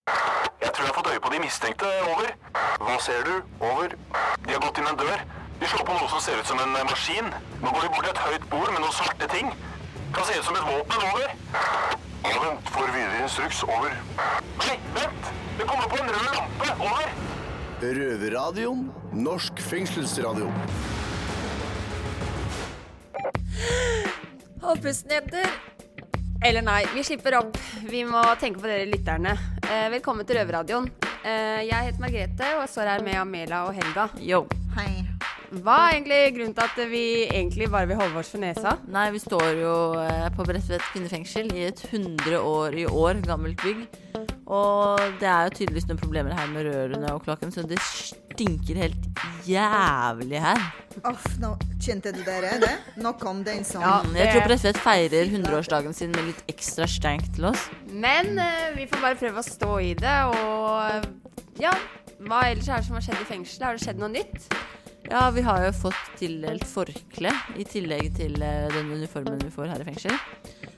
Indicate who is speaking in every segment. Speaker 1: før vi har fått øye på de mistenkte. Over. Hva ser du? Over. De har gått inn en dør. De slår på noe som ser ut som en eh, maskin. Nå går de bort til et høyt bord med noen svarte ting. Kan se ut som et våpen. Over. Vent for videre instruks. Over. Nei, vent! Det kommer på en rød lampe. Over.
Speaker 2: Røverradioen. Norsk fengselsradio.
Speaker 3: Hold pusten, jenter. Eller nei, vi slipper opp. Vi må tenke på dere lytterne. Eh, velkommen til Røverradioen. Eh, jeg heter Margrethe og står her med Amela og Helga. Yo.
Speaker 4: Hei.
Speaker 3: Hva er egentlig grunnen til at vi egentlig bare vil holde oss for nesa?
Speaker 4: Nei, vi står jo eh, på Bredtvet kvinnefengsel i et 100 år i år gammelt bygg. Og det er jo tydeligvis noen problemer her med rørene og kloakken, så det stinker helt jævlig her.
Speaker 5: Uff, nå kjente du dere det? Nå kom det en sånn.
Speaker 3: Ja.
Speaker 4: Jeg
Speaker 3: det-
Speaker 4: tror Bredtvet feirer 100-årsdagen sin med litt ekstra stank til oss.
Speaker 3: Men eh, vi får bare prøve å stå i det, og ja. Hva ellers er det som har skjedd i fengselet? Har det skjedd noe nytt?
Speaker 4: Ja, vi har jo fått tildelt forkle i tillegg til eh, den uniformen vi får her i fengsel.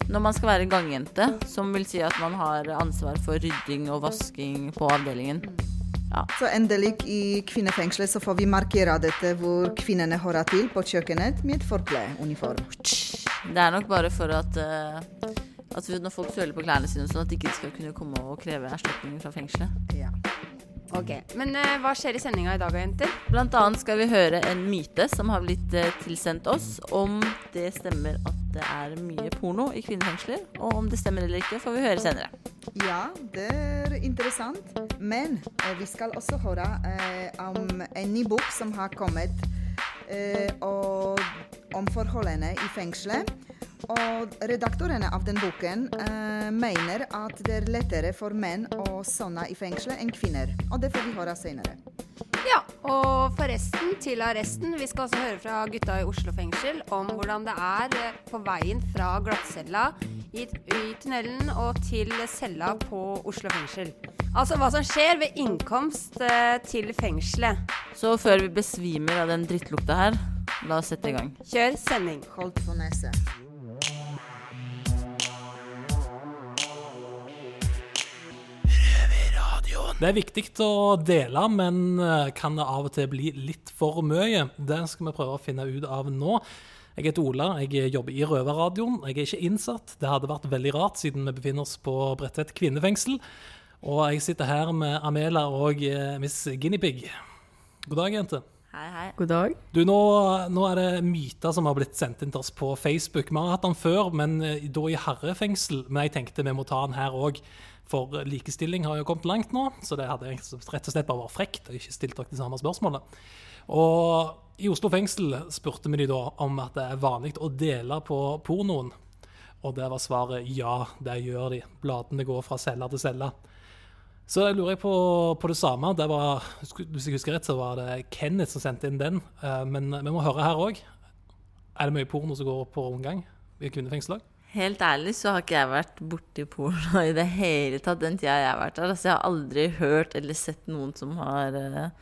Speaker 4: Når man skal være gangjente, som vil si at man har ansvar for rydding og vasking på avdelingen.
Speaker 5: Så endelig i kvinnefengselet så får vi markere dette hvor kvinnene hører til på kjøkkenet med forkleuniform.
Speaker 4: Det er nok bare for at eh, At når folk søler på klærne sine, sånn at de ikke skal kunne komme og kreve erstatning fra fengselet.
Speaker 5: Ja.
Speaker 3: Ok, Men eh, hva skjer i sendinga i dag, jenter?
Speaker 4: Blant annet skal vi høre en myte som har blitt eh, tilsendt oss, om det stemmer at det er mye porno i kvinnefengsler. Og om det stemmer eller ikke, får vi høre senere.
Speaker 5: ja, det er interessant. Men eh, vi skal også høre eh, om en ny bok som har kommet eh, og om forholdene i fengselet. Og redaktorene av den boken eh, mener at det er lettere for menn å sovne i fengselet enn kvinner. Og det får vi høre senere.
Speaker 3: Ja, og forresten til arresten. Vi skal også høre fra gutta i Oslo fengsel om hvordan det er eh, på veien fra glattcella i, i tunnelen og til cella på Oslo fengsel. Altså hva som skjer ved innkomst eh, til fengselet.
Speaker 4: Så før vi besvimer av den drittlukta her, la oss sette i gang.
Speaker 3: Kjør sending.
Speaker 5: Holdt for nese.
Speaker 6: Det er viktig å dele, men eh, kan det av og til bli litt for mye? Det skal vi prøve å finne ut av nå. Jeg heter Ola, jeg jobber i Røverradioen. Jeg er ikke innsatt. Det hadde vært veldig rart, siden vi befinner oss på Bredtvet kvinnefengsel. Og jeg sitter her med Amela og eh, Miss Guinevere. God dag, jenter.
Speaker 4: Hei, hei.
Speaker 7: God dag.
Speaker 6: Du, nå, nå er det myter som har blitt sendt inn til oss på Facebook. Vi har hatt den før, men eh, da i herrefengsel. Men jeg tenkte vi må ta den her òg, for eh, likestilling har jo kommet langt nå. Så det hadde rett og slett bare vært frekt og ikke stilt dere det samme spørsmålet. Og i Oslo fengsel spurte vi de da om at det er vanlig å dele på pornoen. Og der var svaret ja, det gjør de. Bladene går fra celle til celle. Så jeg lurer jeg på, på det samme. Det var, hvis jeg husker rett, så var det Kenneth som sendte inn den. Eh, Men vi må høre her òg. Er det mye porno som går på omgang i kvinnefengsel òg?
Speaker 4: Helt ærlig så har ikke jeg vært borti porno i det hele tatt den tida jeg har vært der. Altså, jeg har aldri hørt eller sett noen som har eh,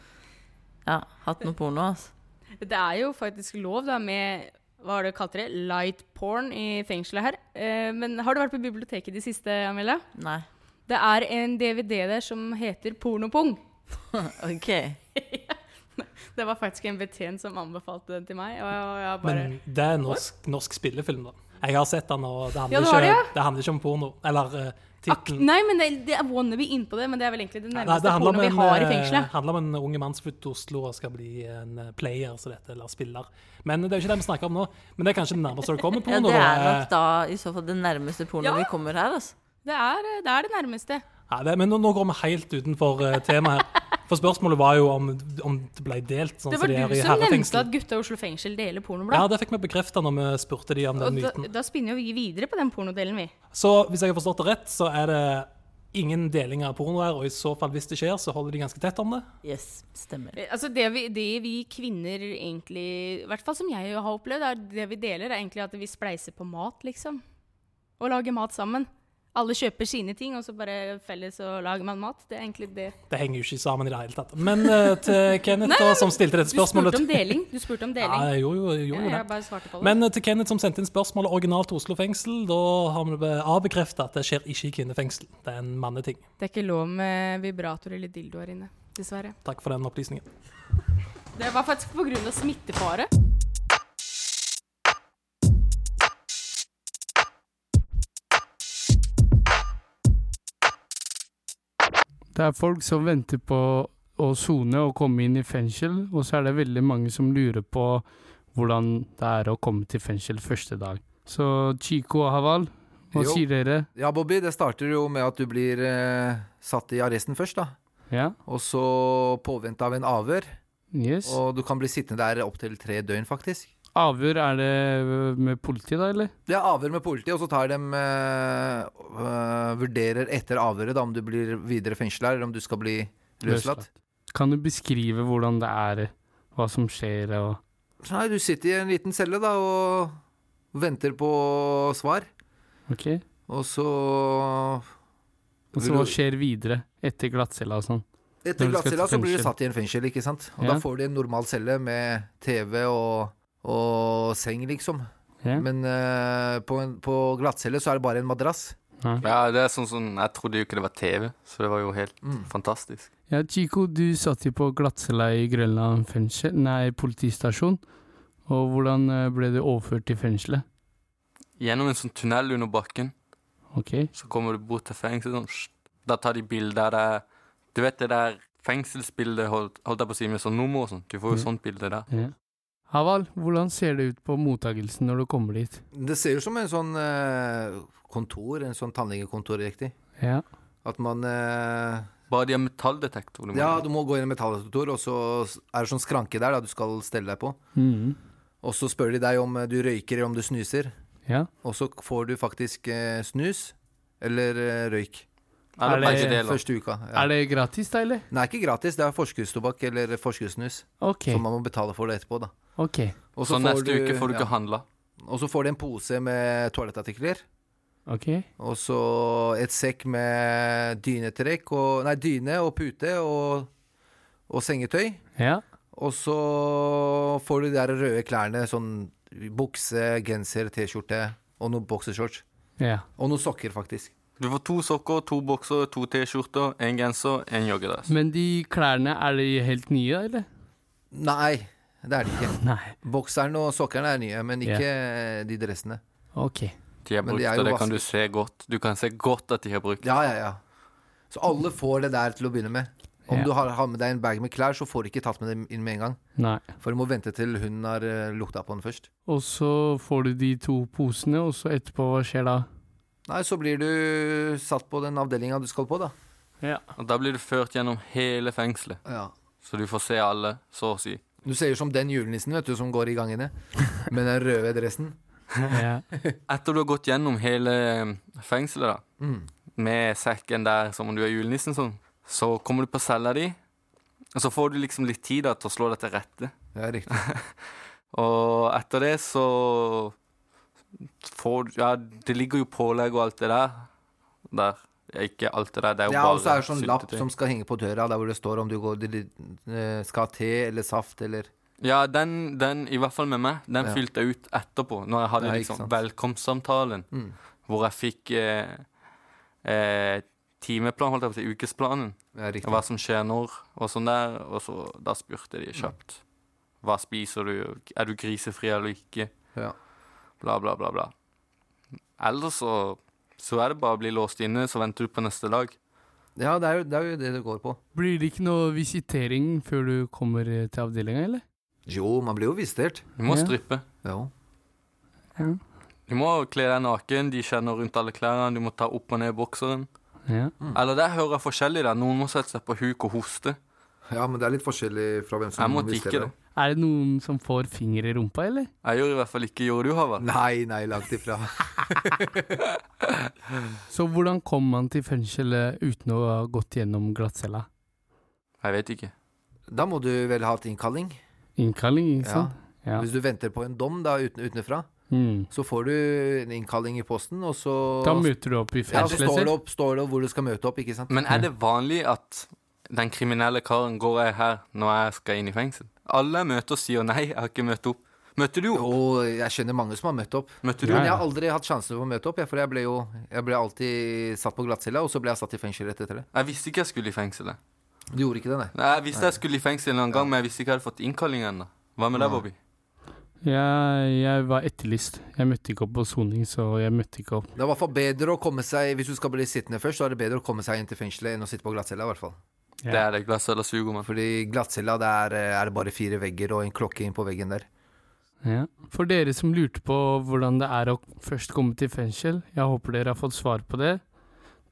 Speaker 4: ja, hatt noe porno. Altså.
Speaker 7: Det er jo faktisk lov da med hva har du kalt det? Light porn i fengselet her. Eh, men har du vært på biblioteket i det siste, Amelia?
Speaker 4: Nei.
Speaker 7: Det er en DVD der som heter Pornopung.
Speaker 4: OK.
Speaker 7: Det var faktisk en betjent som anbefalte den til meg. Og og jeg bare
Speaker 6: Men det er norsk, norsk spillefilm, da. Jeg har sett den, og det
Speaker 7: Ja,
Speaker 6: handler,
Speaker 7: du har det,
Speaker 6: ikke,
Speaker 7: ja?
Speaker 6: det handler ikke om porno. Eller uh,
Speaker 7: Ak
Speaker 6: tittelen.
Speaker 7: nei, men det, det er wannabe innpå det, men det er vel egentlig det
Speaker 6: Nei,
Speaker 7: nærmeste
Speaker 6: handler om
Speaker 7: porno vi
Speaker 6: en,
Speaker 7: har i
Speaker 6: eh,
Speaker 7: fengselet.
Speaker 6: handler om en unge mann som flytter til Oslo og skal bli en eh, player, så dette, eller spiller. Men det er jo ikke det vi snakker om nå. Men det er kanskje det nærmeste det kommer
Speaker 4: Ja,
Speaker 6: porno.
Speaker 4: det
Speaker 6: da. Eh,
Speaker 4: er nok da i så fall det nærmeste porno
Speaker 7: Ja.
Speaker 4: vi kommer her. Altså.
Speaker 7: Det er, eh, det er det nærmeste.
Speaker 6: Ja, det, men nå, nå går vi helt utenfor eh, temaet her. For spørsmålet var jo om, om det ble delt. Sånn
Speaker 7: Det
Speaker 6: som
Speaker 7: var
Speaker 6: de er
Speaker 7: du
Speaker 6: i
Speaker 7: som nevnte
Speaker 6: herrefengsel.
Speaker 7: at gutta i Oslo fengsel deler
Speaker 6: Ja,
Speaker 7: pornoblad.
Speaker 6: det fikk vi bekrefta når vi spurte de om den
Speaker 7: og da,
Speaker 6: myten.
Speaker 7: da spinner jo vi videre på den pornodelen, vi.
Speaker 6: Så hvis jeg har forstått det rett, så er det ingen deling av porno her. Og i så fall, hvis det skjer, så holder de ganske tett om det.
Speaker 4: Yes, stemmer.
Speaker 7: Eh, Altså det vi, det vi kvinner egentlig, i hvert fall som jeg har opplevd, er det vi deler, er egentlig at vi spleiser på mat, liksom. Og lager mat sammen. Alle kjøper sine ting, og så bare felles og lager man mat. Det er egentlig det.
Speaker 6: Det henger jo ikke sammen i det hele tatt. Men eh, til Kenneth, da, som stilte dette
Speaker 7: Du spurte
Speaker 6: spørsmålet
Speaker 7: om deling. Du spurte om
Speaker 6: Ja,
Speaker 7: deling.
Speaker 6: jeg gjorde jo, jeg gjorde jo
Speaker 7: Jeg
Speaker 6: det.
Speaker 7: bare svarte på det.
Speaker 6: Men eh, til Kenneth som sendte inn spørsmålet originalt til Oslo fengsel, da har vi be- avbekreftet at det skjer ikke i kvinnefengsel. Det er en manneting.
Speaker 7: det er ikke lov med vibrator eller dildo her inne. Dessverre.
Speaker 6: Takk for den opplysningen.
Speaker 7: Det var faktisk pga. smittefare.
Speaker 8: Det er folk som venter på å sone og komme inn i fengsel, og så er det veldig mange som lurer på hvordan det er å komme til fengsel første dag. Så Chico og Haval, hva
Speaker 9: Jo.
Speaker 8: sier dere?
Speaker 9: Ja, Bobby, det starter jo med at du blir eh, satt i arresten først, da.
Speaker 8: Ja?
Speaker 9: Og så påvente av en avhør.
Speaker 8: Yes?
Speaker 9: Og du kan bli sittende der opptil tre døgn, faktisk.
Speaker 8: Avhør er det med politi, da, eller?
Speaker 9: Det er avhør med politiet, og så tar de eh, øh, Vurderer etter avhøret da, om du blir videre fengsla, eller om du skal bli løslatt.
Speaker 8: Kan du beskrive hvordan det er, hva som skjer og
Speaker 9: Nei, du sitter i en liten celle da og venter på svar.
Speaker 8: OK?
Speaker 9: Og så
Speaker 8: Og så altså, hva skjer videre etter glattcella og sånn?
Speaker 9: Etter
Speaker 8: Når du skal til
Speaker 9: glattcella så blir du
Speaker 8: fengsel.
Speaker 9: satt i en fengsel, ikke sant? Og
Speaker 8: Ja.
Speaker 9: da får de en normal celle med TV og, og seng, liksom.
Speaker 8: Ja?
Speaker 9: Men eh, på, en- på glattcelle så er det bare en madrass.
Speaker 10: Ja, det er sånn som Jeg trodde jo ikke det var TV, så det var jo helt
Speaker 9: Mm.
Speaker 10: fantastisk.
Speaker 8: Ja, Chico, du satt jo på glattcella i Grønland fengsel, nei, politistasjon. Og hvordan eh, ble du overført til fengselet?
Speaker 10: Gjennom en sånn tunnel under bakken,
Speaker 8: OK?
Speaker 10: så kommer du bort til fengsel. Sånn, sst. da tar de bilder der Du vet det der fengselsbildet, holdt, holdt jeg på å si, med sånn nummer og sånn. Du får jo
Speaker 8: Mm.
Speaker 10: sånt bilde der.
Speaker 8: Ja. Haval, hvordan ser det ut på mottagelsen når du kommer dit?
Speaker 9: Det ser ut som en sånn eh, kontor, en sånn tannlegekontor, riktig.
Speaker 8: Ja.
Speaker 9: At man eh,
Speaker 10: Bare de har metalldetektor. du må-
Speaker 9: Ja, du må gå inn i metalldetektor, og så er det sånn skranke der da du skal stelle deg på.
Speaker 8: Mhm.
Speaker 9: Og så spør de deg om eh, du røyker eller om du snuser.
Speaker 8: ja.
Speaker 9: Og så får du faktisk eh, snus eller eh, røyk.
Speaker 10: Eller
Speaker 8: Er det-
Speaker 10: begge deler.
Speaker 9: Første uka. Ja.
Speaker 8: Er det gratis, da, eller?
Speaker 9: Nei, ikke gratis. Det er forskuddstobakk eller forskuddssnus.
Speaker 8: OK.
Speaker 9: Som man må betale for det etterpå, da.
Speaker 8: ok.
Speaker 9: Og
Speaker 10: så neste uke får du
Speaker 9: ja.
Speaker 10: ikke handla.
Speaker 9: Og så får du en pose med toalettartikler.
Speaker 8: ok.
Speaker 9: Og så et sekk med dynetrekk og Nei, dyne og pute og, og sengetøy.
Speaker 8: Ja.
Speaker 9: Og så får du de der røde klærne, sånn bukse, genser, T-skjorte og noen boksershorts.
Speaker 8: ja.
Speaker 9: Og noen sokker, faktisk.
Speaker 10: Du får to sokker, to bokser, to T-skjorter, en genser, en joggedress.
Speaker 8: Men de klærne, er de helt nye, eller?
Speaker 9: Nei, det er det ikke.
Speaker 8: Nei.
Speaker 9: Bokseren og sokkerne er nye, men ikke de dressene.
Speaker 8: OK.
Speaker 10: De har
Speaker 9: Men de
Speaker 10: brukt,
Speaker 9: er jo
Speaker 10: og det kan
Speaker 9: vasket.
Speaker 10: du se godt. Du kan se godt at de har brukt.
Speaker 9: Ja, ja, ja. Så alle får det der til å begynne med. Om
Speaker 8: Ja.
Speaker 9: du har, har med deg en bag med klær, så får du ikke tatt med dem inn med en gang.
Speaker 8: Nei.
Speaker 9: For du må vente til hun har eh, lukta på den først.
Speaker 8: Og så får du de to posene, og så etterpå, hva skjer da?
Speaker 9: Nei, så blir du satt på den avdelinga du skal på, da.
Speaker 8: Ja.
Speaker 10: Og da blir du ført gjennom hele fengselet,
Speaker 9: Ja.
Speaker 10: så du får se alle, så å si.
Speaker 9: Du ser jo som den julenissen, vet du, som går i gangene. Med den røde dressen.
Speaker 8: ja.
Speaker 10: Etter du har gått gjennom hele eh, fengselet, da,
Speaker 9: Mm.
Speaker 10: med sekken der som om du er julenissen, sånn, så kommer du på cella di, og så får du liksom litt tid da, til å slå deg til rette.
Speaker 9: Ja, riktig.
Speaker 10: Og etter det så får du Ja, det ligger jo pålegg og alt det der. Der. Ja, Ikke alt det der, det er jo
Speaker 9: Ja,
Speaker 10: bare
Speaker 9: og så er det sånn lapp
Speaker 10: syltetøy.
Speaker 9: som skal henge på døra, der hvor det står om du går, eh, skal ha te eller saft eller
Speaker 10: Ja, den, den, i hvert fall med meg, den
Speaker 9: Ja.
Speaker 10: fylte jeg ut etterpå. Når jeg hadde
Speaker 9: Ja, ikke
Speaker 10: liksom
Speaker 9: sant.
Speaker 10: velkomstsamtalen,
Speaker 9: Mm.
Speaker 10: hvor jeg fikk eh, eh, timeplan, holdt jeg på å si, ukesplanen.
Speaker 9: Ja, riktig.
Speaker 10: Hva som skjer når, og sånn der. Og så da spurte de kjapt. Hva spiser du? Er du grisefri eller ikke?
Speaker 9: Ja.
Speaker 10: Bla, bla, bla, bla. Ellers så, så er det bare å bli låst inne, så venter du på neste dag.
Speaker 9: Ja, det er, jo, det er jo det det går på.
Speaker 8: Blir det ikke noe visitering før du kommer eh, til avdelinga, eller?
Speaker 9: Jo, man blir jo visitert.
Speaker 10: Du må
Speaker 8: Ja.
Speaker 10: strippe.
Speaker 9: Jo.
Speaker 10: Du må kle deg naken, de kjenner rundt alle klærne, du må ta opp og ned bokseren.
Speaker 8: Ja.
Speaker 9: Mm.
Speaker 10: Eller der hører jeg forskjellig der. Noen må sette seg på huk og hoste.
Speaker 9: Ja, men det er litt forskjellig fra hvem
Speaker 10: Jeg måtte ikke det.
Speaker 8: Er det noen som får finger i rumpa, eller?
Speaker 10: Jeg gjorde i hvert fall ikke gjorde du, Havard.
Speaker 9: Nei, nei, langt ifra.
Speaker 8: Så hvordan kom man til fengselet uten å ha gått gjennom glattcella?
Speaker 10: Jeg vet ikke.
Speaker 9: Da må du vel ha hatt innkalling?
Speaker 8: Innkalling, ikke
Speaker 9: Ja.
Speaker 8: sant? Ja.
Speaker 9: Hvis du venter på en dom da uten, utenfra,
Speaker 8: Mm.
Speaker 9: Så får du en innkalling i posten, og så
Speaker 8: Da møter du opp i
Speaker 9: ja, så
Speaker 8: fengselet
Speaker 9: står det
Speaker 8: selv.
Speaker 9: opp, står det opp hvor du skal møte opp, ikke sant?
Speaker 10: Men er det vanlig at den kriminelle karen går jeg her når jeg skal inn i fengsel? Alle jeg møter sier nei, jeg har ikke møtt opp. Møtte du opp?
Speaker 9: Og jeg skjønner mange som har møtt opp.
Speaker 10: Møtte du
Speaker 8: Ja,
Speaker 9: Men jeg
Speaker 8: ja.
Speaker 9: har aldri hatt sjansen for å møte opp, jeg, for jeg ble jo jeg ble alltid satt på glattcella, og så ble jeg satt i fengsel rett etter det.
Speaker 10: Jeg visste ikke jeg skulle i fengselet.
Speaker 9: Du gjorde ikke det, nei.
Speaker 10: Nei, Jeg visste jeg skulle i fengsel en gang, men jeg visste ikke jeg hadde fått innkalling ennå. Hva med deg, Bobby?
Speaker 8: Jeg, jeg var etterlyst. Jeg møtte ikke opp på soning, så jeg møtte ikke opp.
Speaker 9: Det er i hvert fall bedre å komme seg Hvis du skal bli sittende først, så er det bedre å komme seg inn til fengselet enn å sitte på glattcella, i hvert fall.
Speaker 8: Ja.
Speaker 10: Det er det glasset eller suger meg.
Speaker 9: Fordi glattcella, det er, eh, er det bare fire vegger og en klokke inn på veggen der.
Speaker 8: Ja. For dere som lurte på hvordan det er å først komme til fengsel, jeg håper dere har fått svar på det.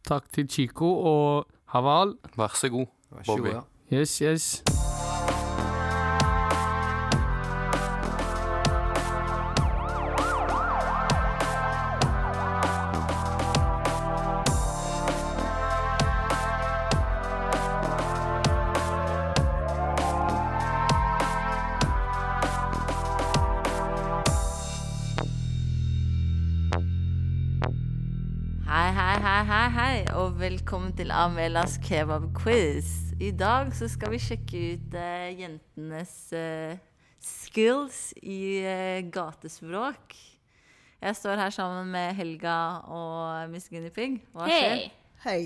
Speaker 8: Takk til Chico og Haval.
Speaker 10: Vær så god.
Speaker 9: Vær så
Speaker 10: Bobby.
Speaker 9: god, ja.
Speaker 8: Yes, yes.
Speaker 4: Hei, hei, hei, hei, hei, og velkommen til Amelas kebabquiz. I dag så skal vi sjekke ut eh, jentenes eh, skills i eh, gatespråk. Jeg står her sammen med Helga og Miss Guinea Pig. Hva skjer?
Speaker 7: Hei!
Speaker 5: Hei.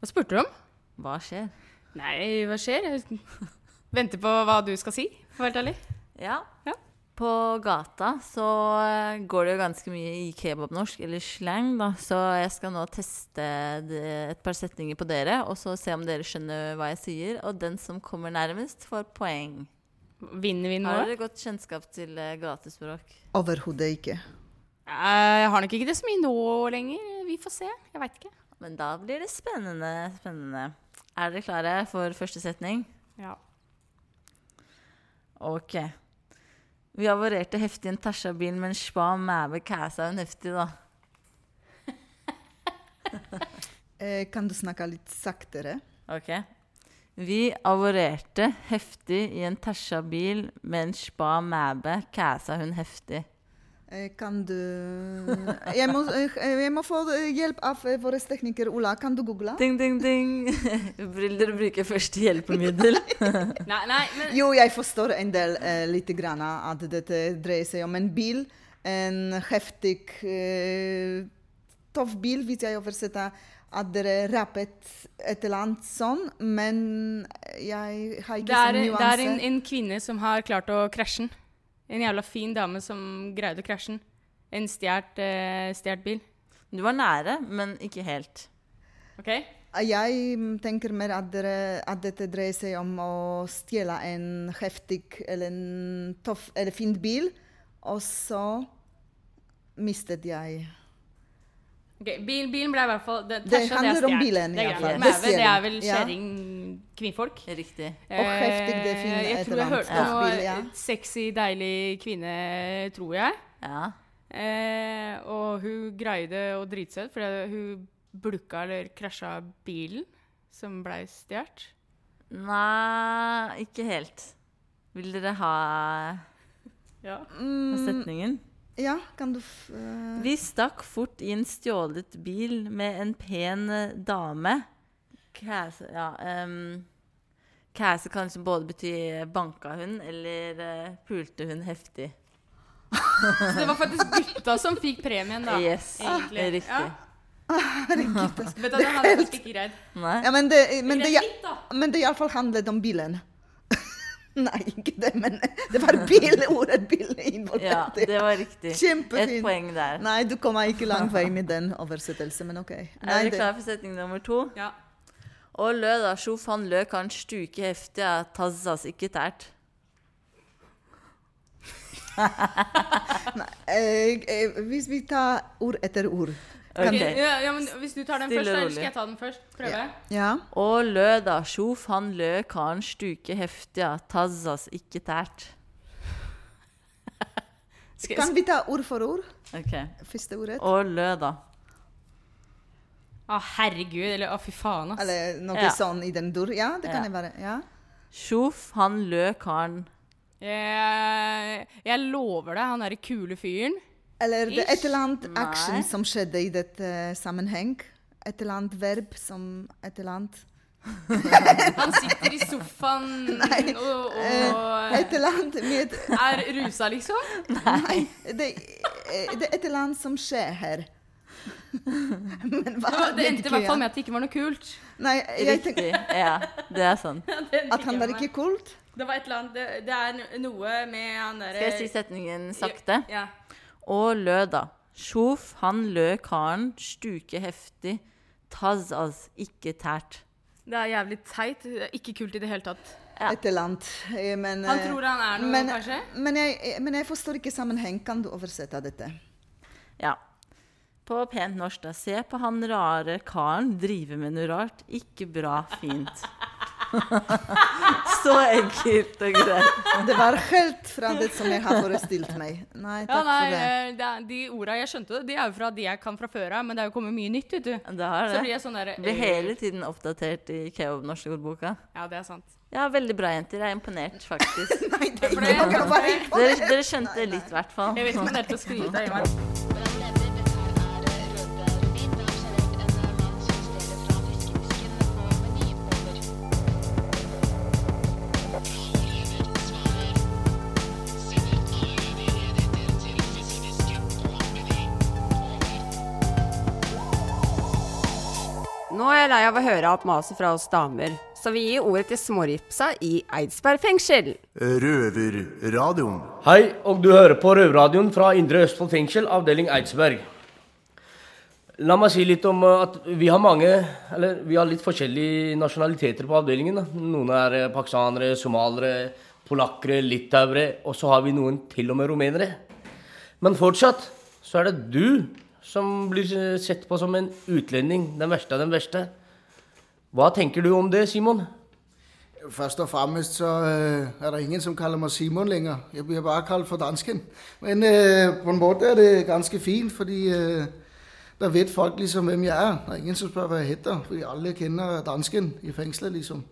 Speaker 7: Hva spurte du om?
Speaker 4: Hva skjer?
Speaker 7: Nei, hva skjer? Jeg venter på hva du skal si, for å være helt ærlig.
Speaker 4: Ja.
Speaker 7: Ja.
Speaker 4: På gata så eh, går det jo ganske mye i kebabnorsk, eller slang, da. Så jeg skal nå teste det, et par setninger på dere, og så se om dere skjønner hva jeg sier. Og den som kommer nærmest, får poeng.
Speaker 7: Vinner vi
Speaker 4: Har
Speaker 7: noe?
Speaker 4: dere godt kjennskap til eh, gatespråk?
Speaker 5: Overhodet ikke.
Speaker 7: Eh, Jeg har nok ikke det så mye nå lenger. Vi får se. Jeg veit ikke.
Speaker 4: Men da blir det spennende, spennende. Er dere klare for første setning?
Speaker 7: Ja.
Speaker 4: Ok. Vi avorerte heftig en Tasha-bil, men spa mæbe kæsa en heftig, da.
Speaker 5: Eh, kan du snakke litt saktere?
Speaker 4: Ok. Vi avorerte heftig i en Tesha bil med en spa mæbe. Kæsa hun heftig.
Speaker 5: Eh, kan du jeg må, eh, jeg må få eh, hjelp av eh, vår tekniker Ola. Kan du google?
Speaker 4: Ding, ding, ding. Vil dere bruke første hjelpemiddel?
Speaker 7: Nei, nei, men
Speaker 5: Jo, jeg forstår en del eh, lite grann at dette dreier seg om en bil. En heftig, eh, tøff bil, hvis jeg oversetter at dere rappet et eller annet sånn. Men jeg har
Speaker 7: det er,
Speaker 5: ikke sånn
Speaker 7: det er en,
Speaker 5: nuanse.
Speaker 7: en kvinne som har klart å krasje den. En jævla fin dame som greide å krasje den. En stjålet eh, stjert bil.
Speaker 4: Du var nære, men ikke helt.
Speaker 7: OK?
Speaker 5: Jeg mm, tenker mer at, dere, at dette dreier seg om å stjele en heftig eller en tøff eller fin bil, og så mistet jeg
Speaker 7: Ok, bil, bilen ble i hvert fall Det,
Speaker 5: Det
Speaker 7: Tesla, er
Speaker 5: handler om
Speaker 7: stjert.
Speaker 5: bilen i
Speaker 7: Det er
Speaker 5: hvert
Speaker 7: greit.
Speaker 5: fall.
Speaker 7: Mæve,
Speaker 5: Det ser
Speaker 7: det er
Speaker 5: vi.
Speaker 7: vel
Speaker 5: Ja.
Speaker 7: kjerring kvinnfolk.
Speaker 4: Riktig.
Speaker 5: Og heftig, det er fin
Speaker 7: Eh,
Speaker 5: et
Speaker 7: Jeg tror jeg
Speaker 5: eller annet.
Speaker 7: hørte noe
Speaker 5: Ja. Bil, ja.
Speaker 7: sexy, deilig kvinne, tror jeg.
Speaker 4: Ja.
Speaker 7: Eh, og hun greide å drite seg ut fordi hun blukka eller krasja bilen som blei stjålet.
Speaker 4: Nei, ikke helt. Vil dere ha
Speaker 7: Ja.
Speaker 4: setningen?
Speaker 5: Ja, kan du f eh,
Speaker 4: Vi stakk fort i en stjålet bil med en pen eh, dame. Kæse, ja, ehm, kæse kan liksom både bety banka hun eller eh, pulte hun heftig.
Speaker 7: Så det var faktisk gutta som fikk premien, da.
Speaker 4: yes,
Speaker 7: egentlig.
Speaker 4: riktig.
Speaker 7: Ja.
Speaker 5: Herregud, altså.
Speaker 7: Vet du, det hadde jeg faktisk ikke greid.
Speaker 4: Nei?
Speaker 5: Ja, men det, eh, men
Speaker 7: Det
Speaker 5: det,
Speaker 7: er
Speaker 5: ja,
Speaker 7: litt, da.
Speaker 5: men det iallfall handlet om bilen. Nei, ikke det, men det var bil, ordet bil
Speaker 4: Ja,
Speaker 5: involvert.
Speaker 4: det var riktig.
Speaker 5: Kjempefint.
Speaker 4: Et poeng der.
Speaker 5: Nei, du kommer ikke lang vei med den oversettelsen, men OK. Nei,
Speaker 4: Er dere
Speaker 5: det-
Speaker 4: klare for setning nummer to?
Speaker 7: Ja.
Speaker 4: Og lø da, sjof han lø kan stuke heftig, ja, tazzas ikke tært.
Speaker 5: Eh, eh, hvis vi tar ord etter ord.
Speaker 4: Ok.
Speaker 7: Ja, ja, men hvis du tar den først,
Speaker 4: Stille og
Speaker 7: eller skal
Speaker 4: rolig.
Speaker 7: jeg ta den først? Prøve?
Speaker 5: Ja. Ja.
Speaker 4: Og lø da, sjof han lø kan stuke heftig, ja, tazzas ikke tært.
Speaker 7: Skal,
Speaker 5: Kan vi ta ord for ord?
Speaker 4: Ok.
Speaker 5: Første ordet?
Speaker 4: Og lø da.
Speaker 7: Å, herregud. Eller å, fy faen, ass.
Speaker 5: Eller noe
Speaker 4: Ja.
Speaker 5: sånn i den dur? Ja, det
Speaker 4: Ja.
Speaker 5: kan det være. Ja.
Speaker 4: Sjof han lø kan
Speaker 7: Eh, Jeg, jeg lover deg, han derre kule fyren
Speaker 5: Eller det er et eller annet
Speaker 7: Ish. Nei.
Speaker 5: action som skjedde i dette sammenheng. Et eller annet verb som et eller annet
Speaker 7: Han sitter i sofaen
Speaker 5: Nei,
Speaker 7: og,
Speaker 5: eh, Et
Speaker 7: og
Speaker 5: eller annet med
Speaker 7: er rusa, liksom.
Speaker 5: Nei. Det, eh, det er et eller annet som skjer her. Men hva
Speaker 7: Og Det endte
Speaker 5: vet
Speaker 7: i
Speaker 5: ikke
Speaker 7: hvert fall
Speaker 5: jeg.
Speaker 7: med at det ikke var noe kult.
Speaker 5: Nei, jeg tenker
Speaker 4: Riktig. Ja, det er sånn.
Speaker 7: Ja, det endte
Speaker 5: at han var
Speaker 7: med.
Speaker 5: ikke kult.
Speaker 7: Det var et eller annet Det, det er noe med han derre
Speaker 4: Skal jeg si setningen sakte?
Speaker 7: Ja.
Speaker 4: Og lø, da. Sjof, han lø karen, stuke heftig. Taz, az, ikke tært.
Speaker 7: Det er jævlig teit. Det er Ikke kult i det hele tatt.
Speaker 5: Et eller annet. eh, Men,
Speaker 7: Han
Speaker 5: eh,
Speaker 7: tror han er noe,
Speaker 5: men,
Speaker 7: kanskje?
Speaker 5: Men jeg, eh, men jeg forstår ikke sammenheng. Kan du oversette dette?
Speaker 4: Ja. På pent norsk, da. Se på han rare karen drive med noe rart. Ikke bra fint. Så enkelt og greit.
Speaker 5: Det var helt fra det som jeg har forestilt meg. Nei,
Speaker 7: Ja,
Speaker 5: takk
Speaker 7: nei,
Speaker 5: for det.
Speaker 7: eh, det er, De orda jeg skjønte, det er jo fra de jeg kan fra før av, men det er jo kommet mye nytt, vet du.
Speaker 4: Det har
Speaker 7: Så blir
Speaker 4: det.
Speaker 7: jeg sånn derre
Speaker 4: Blir hele tiden oppdatert i Keo-norske ordboka.
Speaker 7: eh, Ja, det er sant.
Speaker 4: Ja, veldig bra, jenter. Jeg er imponert, faktisk.
Speaker 5: Nei, det er
Speaker 7: For det-
Speaker 5: ikke noe å være
Speaker 4: Dere,
Speaker 5: imponert.
Speaker 4: dere skjønte litt, i hvert fall.
Speaker 7: Jeg vet ikke om det er til å skryte av. Ivar.
Speaker 3: Nå er jeg lei av å høre alt maset fra oss damer, så vi gir ordet til småripsa i Eidsberg fengsel.
Speaker 2: Røverradioen.
Speaker 11: Hei, og du hører på Røverradioen fra Indre Østfold fengsel, avdeling Eidsberg. La meg si litt om eh, at vi har mange, eller vi har litt forskjellige nasjonaliteter på avdelingen. da. Noen er eh, pakistanere, somaliere, polakkere, litauere, og så har vi noen til og med rumenere. Men fortsatt så er det du som blir eh, sett på som en utlending. Den verste av den verste. Hva tenker du om det, Simon?
Speaker 12: Først og fremmest så øh, er der ingen, som kalder mig Simon længere. Jeg bliver bare kaldt for dansken. Men øh, på en måde er det ganske fint, fordi øh, der ved folk ligesom, hvem jeg er. Der er ingen, som spørger, hvad jeg hedder, fordi alle kender dansken i fængslet ligesom.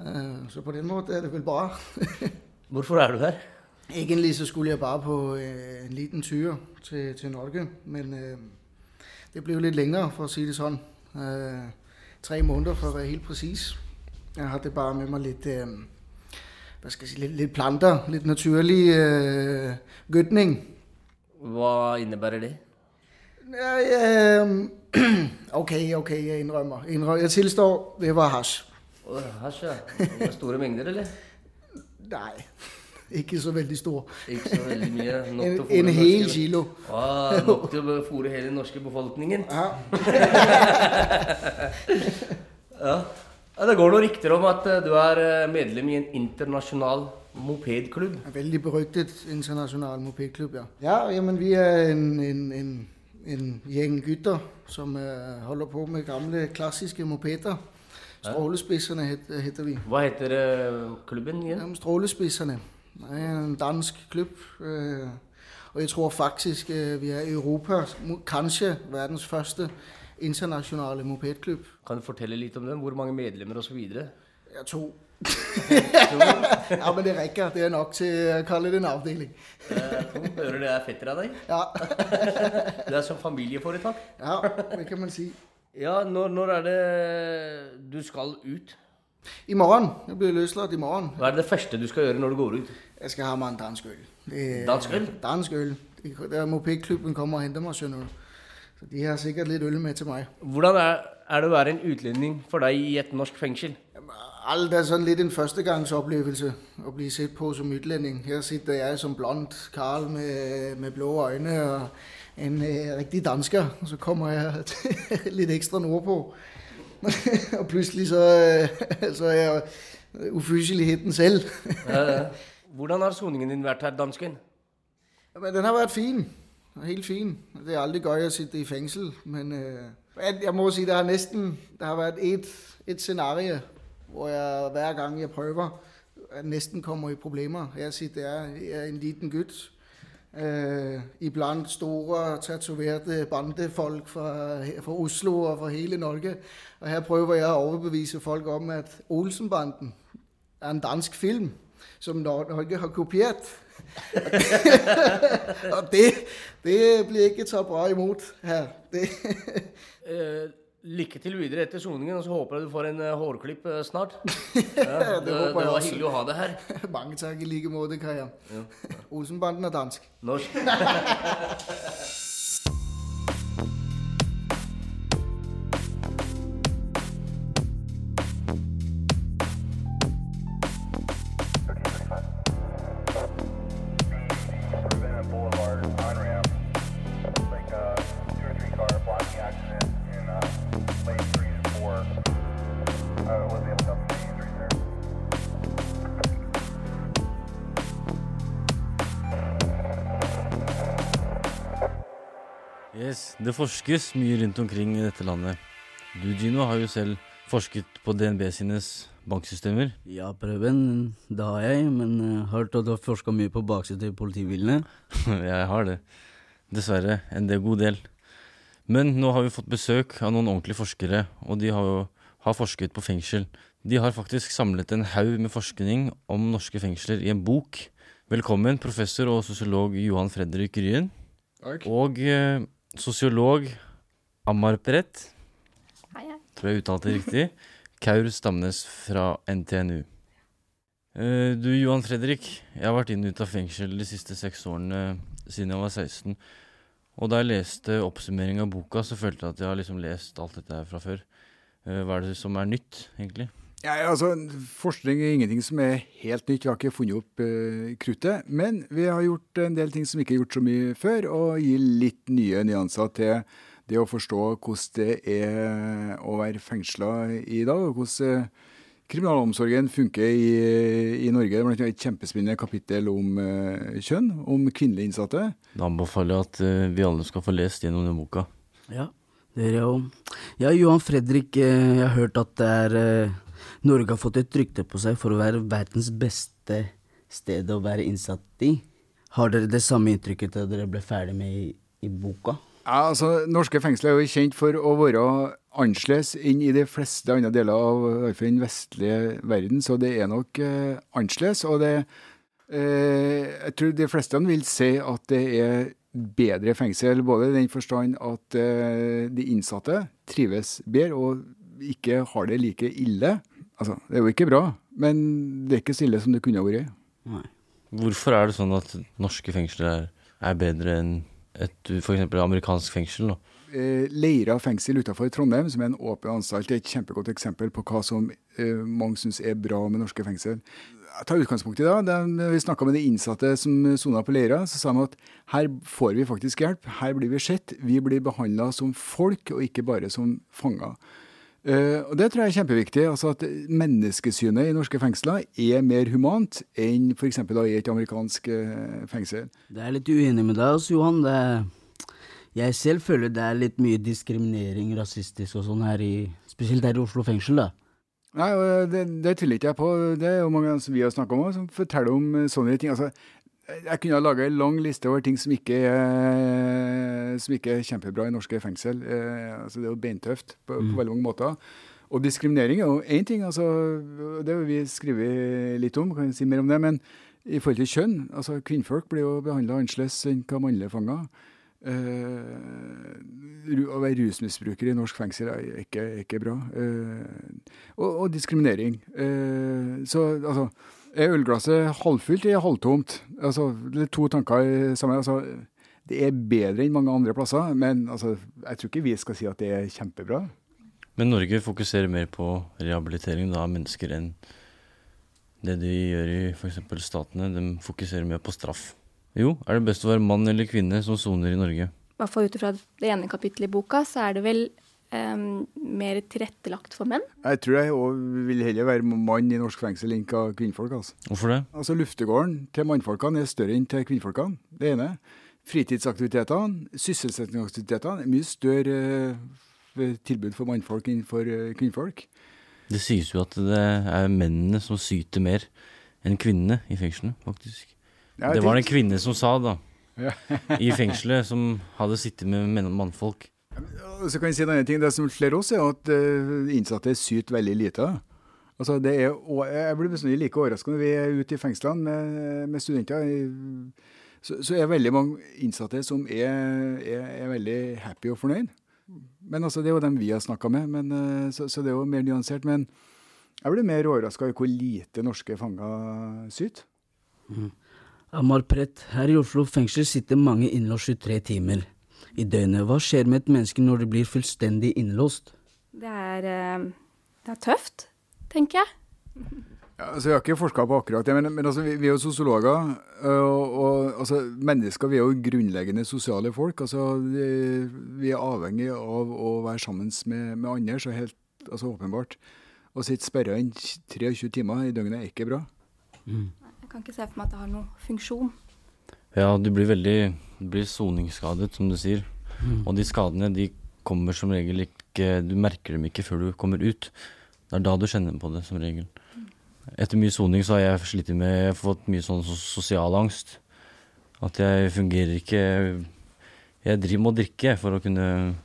Speaker 12: Øh, så på den måde er det vel bare.
Speaker 11: Hvorfor er du her?
Speaker 12: Egentlig så skulle jeg bare på øh, en liten tyre til, til Norge, men øh, det blev lidt længere, for at sige det sådan. Øh, tre måneder for at være helt præcis. Jeg har det bare med mig lidt, øh, hvad skal jeg sige, lidt, lidt planter, lidt naturlig øh, gødning.
Speaker 11: Hva innebærer det?
Speaker 12: Ja, ja, øhm, okay, okay, jeg indrømmer. indrømmer. Jeg tilstår, det var hash.
Speaker 11: Åh, Hasj, ja. Det var Store mengder, eller?
Speaker 12: Nej, ikke så vældig stor.
Speaker 11: Ikke så veldig mye. Nok til
Speaker 12: En,
Speaker 11: å fôre
Speaker 12: en
Speaker 11: norske-
Speaker 12: hel kilo.
Speaker 11: Ah, nok til å fôre hele den norske befolkningen.
Speaker 12: Ja.
Speaker 11: Ja. ja det går noen rykter om at eh, du er eh, medlem i en internasjonal mopedklubb.
Speaker 12: En vældig berygtet international mopedklub, ja. Ja, jamen vi er en, en, en, en gæng gytter, som øh, holder på med gamle klassiske mopeder. Strålespidserne hed, hedder vi.
Speaker 11: Hva heter eh, klubben igjen?
Speaker 12: Jamen strålespidserne er en dansk klub, øh, og jeg tror faktisk, øh, vi er i Europa, mu- kanskje verdens første internationale mopedklub.
Speaker 11: Kan du fortelle litt om den? Hvor mange medlemmer osv.?
Speaker 12: Jeg to. ja, men det rækker. Det er nok til at kalde det en afdeling.
Speaker 11: Hører det er fetter av deg?
Speaker 12: Ja,
Speaker 11: Det er som familieforetak.
Speaker 12: ja det kan man sige.
Speaker 11: Ja, når, når er det du skal ut?
Speaker 12: I morgen. Jeg bliver løsladt i morgen.
Speaker 11: Hva er det første du skal gjøre når du går ut?
Speaker 12: Jeg skal have mig en dansk øl. Det er-
Speaker 11: Dansk øl?
Speaker 12: Dansk øl. Det er- Der er mopedklubben kommer og henter mig, sønner. du. Så de har sikkert lidt øl med til mig.
Speaker 11: Hvordan er, er det å være en utlending for deg i et norsk fengsel?
Speaker 12: Alt er sådan lidt en førstegangsoplevelse at blive set på som utlending. Her sitter jeg som blond Karl med, med blå øjne og en øh, rigtig dansker, og så kommer jeg lidt ekstra nordpå. og pludselig så, øh, så er jeg ufyseligheden selv.
Speaker 11: Eh, Hvordan har soningen din vært her, dansken?
Speaker 12: Men den har været fin. Helt fin. Det er aldrig godt at sitte i fængsel, men øh, men jeg må sige, der har næsten der har været et, et scenarie, hvor jeg hver gang jeg prøver, at næsten kommer i problemer. Jeg siger, det er, jeg er en liten gyt. Øh, iblandt store, tatoverede bandefolk fra, fra Oslo og fra hele Norge. Og her prøver jeg at overbevise folk om, at Olsenbanden er en dansk film, som Nor- Norge har kopieret. og det, det bliver ikke så bra imod her. Det,
Speaker 11: Eh, lykke til videre etter soningen, og så håper jeg du får en eh, hårklipp eh, snart. Ja, det, det,
Speaker 12: håper
Speaker 11: var
Speaker 12: jeg også.
Speaker 11: hyggelig å ha deg her.
Speaker 12: Mange tak i lige måde, Kaja. Ja. Olsenbanden er dansk.
Speaker 11: Norsk.
Speaker 13: Yes, Det forskes mye rundt omkring i dette landet. Du, Gino, har jo selv forsket på DNB sines banksystemer.
Speaker 14: Ja, Preben, det har jeg, men eh, hørt at du har forska mye på baksiden til politibilene.
Speaker 13: Jeg har det. Dessverre. En del god del. Men nå har vi fått besøk av noen ordentlige forskere, og de har jo har forsket på fengsel. De har faktisk samlet en haug med forskning om norske fengsler i en bok. Velkommen, professor og sosiolog Johan Fredrik Ryen.
Speaker 15: Takk.
Speaker 13: Og eh, sosiolog Amarpret. Tror jeg uttalte det riktig. Kaur Stamnes fra NTNU. Eh, Du, Johan Fredrik, jeg har vært inn og ut av fengsel de siste seks årene eh, siden jeg var 16. Og da jeg leste oppsummering av boka, så følte jeg at jeg har liksom lest alt dette her fra før. Eh, Hva er det som er nytt, egentlig?
Speaker 15: Ja, altså, forskning er ingenting som er helt nytt. Vi har ikke funnet opp eh, kruttet. Men vi har gjort en del ting som ikke er gjort så mye før, og gir litt nye nyanser til det å forstå hvordan det er eh, å være fengsla i dag, og hvordan eh, kriminalomsorgen funker i, i Norge. Det er blant annet et kjempespennende kapittel om eh, kjønn, om kvinnelige innsatte.
Speaker 13: Da anbefaler jeg at eh, vi alle skal få lest gjennom den boka.
Speaker 14: Ja, det gjør jeg òg. Ja, Johan Fredrik, eh, jeg har hørt at det er eh, Norge har fått et rykte på seg for å være verdens beste sted å være innsatt i. Har dere det samme inntrykket da dere ble ferdig med i, i boka?
Speaker 15: Ja, altså, Norske fengsler er jo kjent for å være annerledes enn i de fleste andre deler av i hvert fall den vestlige verden, så det er nok eh, annerledes. Og det, eh, jeg tror de fleste vil si at det er bedre fengsel, både i den forstand at eh, de innsatte trives bedre og ikke har det like ille. Altså, det er jo ikke bra, men det er ikke så ille som det kunne ha vært.
Speaker 13: Hvorfor er det sånn at norske fengsler er, er bedre enn et f.eks. amerikansk fengsel? Da?
Speaker 15: Eh, Leira fengsel utenfor Trondheim, som er en åpen anstalt, er et kjempegodt eksempel på hva som eh, mange syns er bra med norske fengsel. Jeg tar utgangspunkt i det. De- når vi snakka med de innsatte som sona på Leira. Så sa de at her får vi faktisk hjelp, her blir vi sett. Vi blir behandla som folk, og ikke bare som fanger. Eh, og Det tror jeg er kjempeviktig. altså At menneskesynet i norske fengsler er mer humant enn f.eks. i et amerikansk eh, fengsel.
Speaker 14: Det er litt uenig med deg også, Johan. Det er, jeg selv føler det er litt mye diskriminering, rasistisk og sånn her i Spesielt her i Oslo fengsel, da.
Speaker 15: Nei, og eh, det, det tviler ikke jeg på. Det er jo mange ganger som vi har snakka om, også, som forteller om eh, sånne ting. Altså, jeg kunne ha laga ei lang liste over ting som ikke, er, som ikke er kjempebra i norske fengsel. Eh, Altså, det er jo beintøft på, på veldig mange måter. Og diskriminering er jo én ting, altså, det har vi skrevet litt om, kan jeg si mer om det. Men i forhold til kjønn, altså kvinnfolk blir jo behandla annerledes enn hva mannlige fanger. Eh, ru- å være rusmisbruker i norsk fengsel er ikke, ikke bra. Eh, og, og diskriminering. Eh, så altså Er ølglasset halvfylt eller halvtomt? Altså, det er to tanker sammen. Altså, det er bedre enn mange andre plasser, men altså, jeg tror ikke vi skal si at det er kjempebra.
Speaker 13: Men Norge fokuserer mer på rehabilitering da, av mennesker enn det de gjør i f.eks. statene. De fokuserer mer på straff. Jo, er det best å være mann eller kvinne som soner i Norge?
Speaker 16: I hvert fall ut ifra det ene kapittelet i boka, så er det vel em, mer tilrettelagt for menn.
Speaker 15: Jeg tror jeg også vil heller være mann i norsk fengsel enn hva kvinnfolk. Altså.
Speaker 13: Hvorfor det?
Speaker 15: Altså Luftegården til mannfolkene er større enn til kvinnfolkene. Det ene. Fritidsaktivitetene, sysselsettingsaktivitetene, er mye større eh, tilbud for mannfolk enn for eh, kvinnfolk.
Speaker 13: Det sies jo at det er mennene som syter mer enn kvinnene i fengslene, faktisk.
Speaker 15: Ja,
Speaker 13: det var
Speaker 15: det-
Speaker 13: det en kvinne som sa, da.
Speaker 15: Ja.
Speaker 13: I fengselet, som hadde sittet med menn og mannfolk.
Speaker 15: Og Så kan jeg si en annen ting. Det som slår oss, er at eh, innsatte syter veldig lite. Altså, det er, og jeg blir bestandig like overraska når vi er ute i fengslene med, med studenter. i- Så, så er veldig mange innsatte som er, er, er veldig happy og fornøyd. Men altså, Det er jo dem vi har snakka med, men, eh, så, så det er jo mer nyansert. Men jeg blir mer overraska over hvor lite norske fanger syter.
Speaker 14: Mm. Amar Prett, her i Oslo fengsel sitter mange innlåst 23 timer i døgnet. Hva skjer med et menneske når det blir fullstendig innlåst?
Speaker 16: Det er, eh, det er tøft, tenker jeg.
Speaker 15: Ja, altså, jeg har ikke forska på akkurat det, men, men altså, vi, vi er jo sosiologer. eh, Og, og altså, mennesker vi er jo grunnleggende sosiale folk. Altså, det- vi er avhengig av å være sammen med, med andre, så helt altså, åpenbart. Å sitte sperra inn 23 timer i døgnet er ikke bra.
Speaker 16: Jeg kan ikke se for meg at det har noen funksjon.
Speaker 13: Ja, du blir veldig du blir soningsskadet, som du sier.
Speaker 14: Mm.
Speaker 13: Og de skadene de kommer som regel ikke Du merker dem ikke før du kommer ut. Det er da du kjenner på det, som regel. Etter mye soning så har jeg slitt med Jeg har fått mye sånn sos- sosial angst. At jeg fungerer ikke Jeg driver med å drikke jeg, for å kunne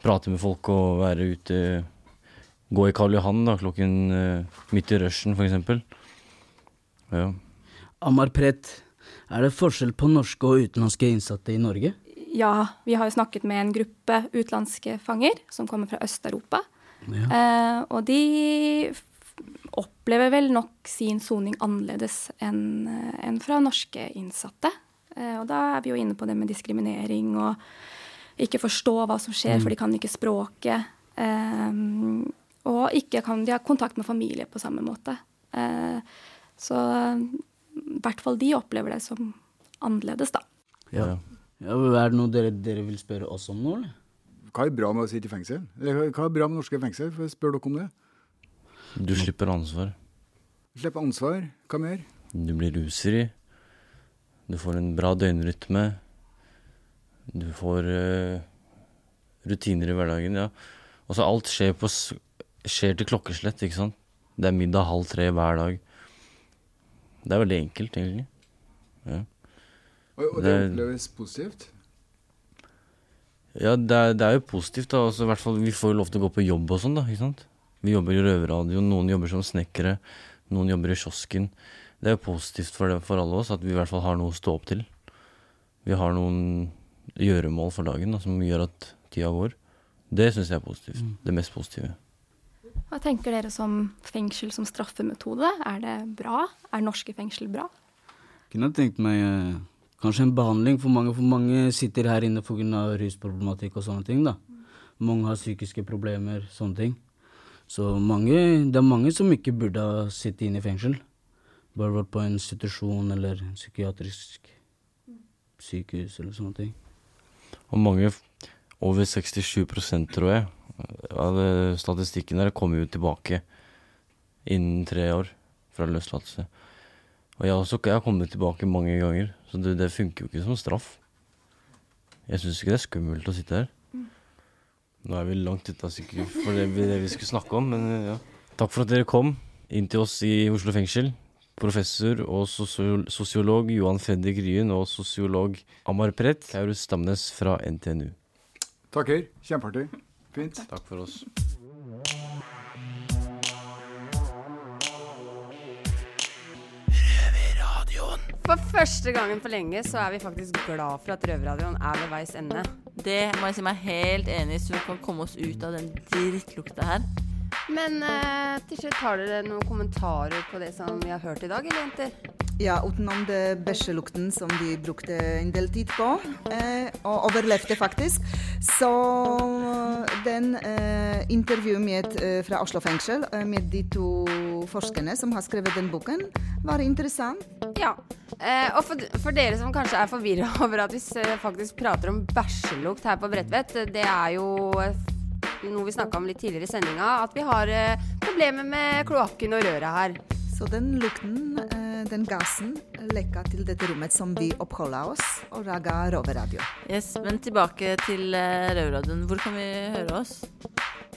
Speaker 13: prate med folk og være ute. Gå i Karl Johan da, klokken eh, midt i rushen, f.eks. Ja.
Speaker 14: Amar Prett, er det forskjell på norske og utenlandske innsatte i Norge?
Speaker 16: Ja, vi har jo snakket med en gruppe utenlandske fanger som kommer fra Øst-Europa. Eh, og de f- opplever vel nok sin soning annerledes enn eh, enn fra norske innsatte. Eh, og da er vi jo inne på det med diskriminering og ikke forstå hva som skjer,
Speaker 17: Mm.
Speaker 16: for de kan ikke språket. Eh, og ikke kan de ha kontakt med familie på samme måte. Eh, så eh, i hvert fall de opplever det som annerledes, da.
Speaker 14: Ja. ja er det noe dere, dere vil spørre oss om nå, eller?
Speaker 15: Hva er bra med å sitte i fengsel? Eller hva er bra med norske fengsel? For Spør dere om det?
Speaker 13: Du slipper ansvar.
Speaker 15: Slippe ansvar? Hva mer?
Speaker 13: Du blir rusfri. Du får en bra døgnrytme. Du får eh, rutiner i hverdagen, ja. Og så alt skjer, på, s- skjer til klokkeslett, ikke sant. Det er middag halv tre hver dag. Det er veldig enkelt, egentlig. Ja,
Speaker 15: Og, og det
Speaker 13: Det-
Speaker 15: oppleves positivt?
Speaker 13: ja det, er, det er jo positivt, da. Altså, i hvert fall, vi får jo lov til å gå på jobb og sånn, da. ikke sant? Vi jobber i røverradioen, noen jobber som snekkere, noen jobber i kiosken. Det er jo positivt for, det, for alle oss at vi i hvert fall har noe å stå opp til. Vi har noen gjøremål for dagen da, som gjør at tida går. Det syns jeg er positivt. Det mest positive.
Speaker 16: Hva tenker dere som fengsel som straffemetode? Er det bra? Er norske fengsel bra?
Speaker 14: Kunne jeg tenkt meg eh, kanskje en behandling for mange, for mange sitter her inne pga. rusproblematikk og sånne ting. da. Mange har psykiske problemer, sånne ting. Så mange, det er mange som ikke burde ha sittet inne i fengsel. Bare vært på en institusjon eller en psykiatrisk sykehus eller sånne ting.
Speaker 13: Og mange, f- over 67 tror jeg, av eh, statistikken der kommer jo tilbake innen tre år fra løslatelse. Og jeg, har også, jeg har kommet tilbake mange ganger, så det, det funker jo ikke som straff. Jeg syns ikke det er skummelt å sitte her. Nå er vi langt ute av sikkert for det, vi- det vi skulle snakke om, men eh, ja. Takk for at dere kom inn til oss i Oslo fengsel. Professor og sosio- sosiolog Johan Fredrik Ryen og sosiolog Amar Prett, Kaurus Stamnes fra NTNU.
Speaker 15: Takker. Kjempeartig. Fint.
Speaker 13: Takk for oss.
Speaker 3: For første gangen på lenge så er vi faktisk glad for at Røverradioen er ved veis ende.
Speaker 4: Det må jeg si meg helt enig i, så vi kan komme oss ut av den drittlukta her.
Speaker 3: Men eh, til slutt, har dere noen kommentarer på det som vi har hørt i dag, eller jenter?
Speaker 5: Ja, utenom det bæsjelukten som de brukte en del tid på, eh, og overlevde faktisk. Så den eh, intervjuet med, eh, fra Oslo fengsel eh, med de to forskerne som har skrevet den boken, var interessant.
Speaker 3: Ja. Eh, og for, for dere som kanskje er forvirra over at vi s- faktisk prater om bæsjelukt her på Bredtvet, det er jo eh, noe vi snakka om litt tidligere i sendinga, at vi har eh, problemer med kloakken og røret her.
Speaker 5: Så den lukten, eh, den gassen, e, lekka til dette rommet som vi oppholder oss, og laga Roverradio.
Speaker 4: Yes, Men tilbake til eh, Røverradioen. Hvor kan vi høre oss?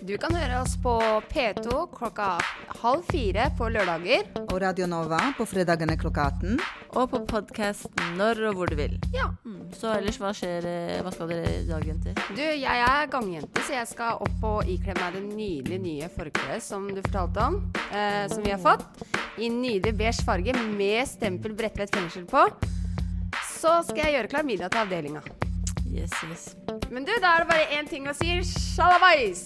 Speaker 3: Du kan høre oss på P2 klokka halv fire på lørdager.
Speaker 5: Og Radio Nova på fredagene klokka 18.
Speaker 4: Og på podkast når og hvor du vil.
Speaker 3: Ja. Mm,
Speaker 4: Så ellers, hva skjer eh, Hva skal dere i dag, jenter?
Speaker 3: Du, jeg er gangjente, så jeg skal opp og ikle meg det nydelige nye forkleet som du fortalte om. Eh, som vi har fått. I nydelig beige farge med stempel Bredtvet fengsel på. Så skal jeg gjøre klar middag til avdelinga.
Speaker 4: Yes, yes.
Speaker 3: Men du, da er det bare én ting å si. Sjalabais!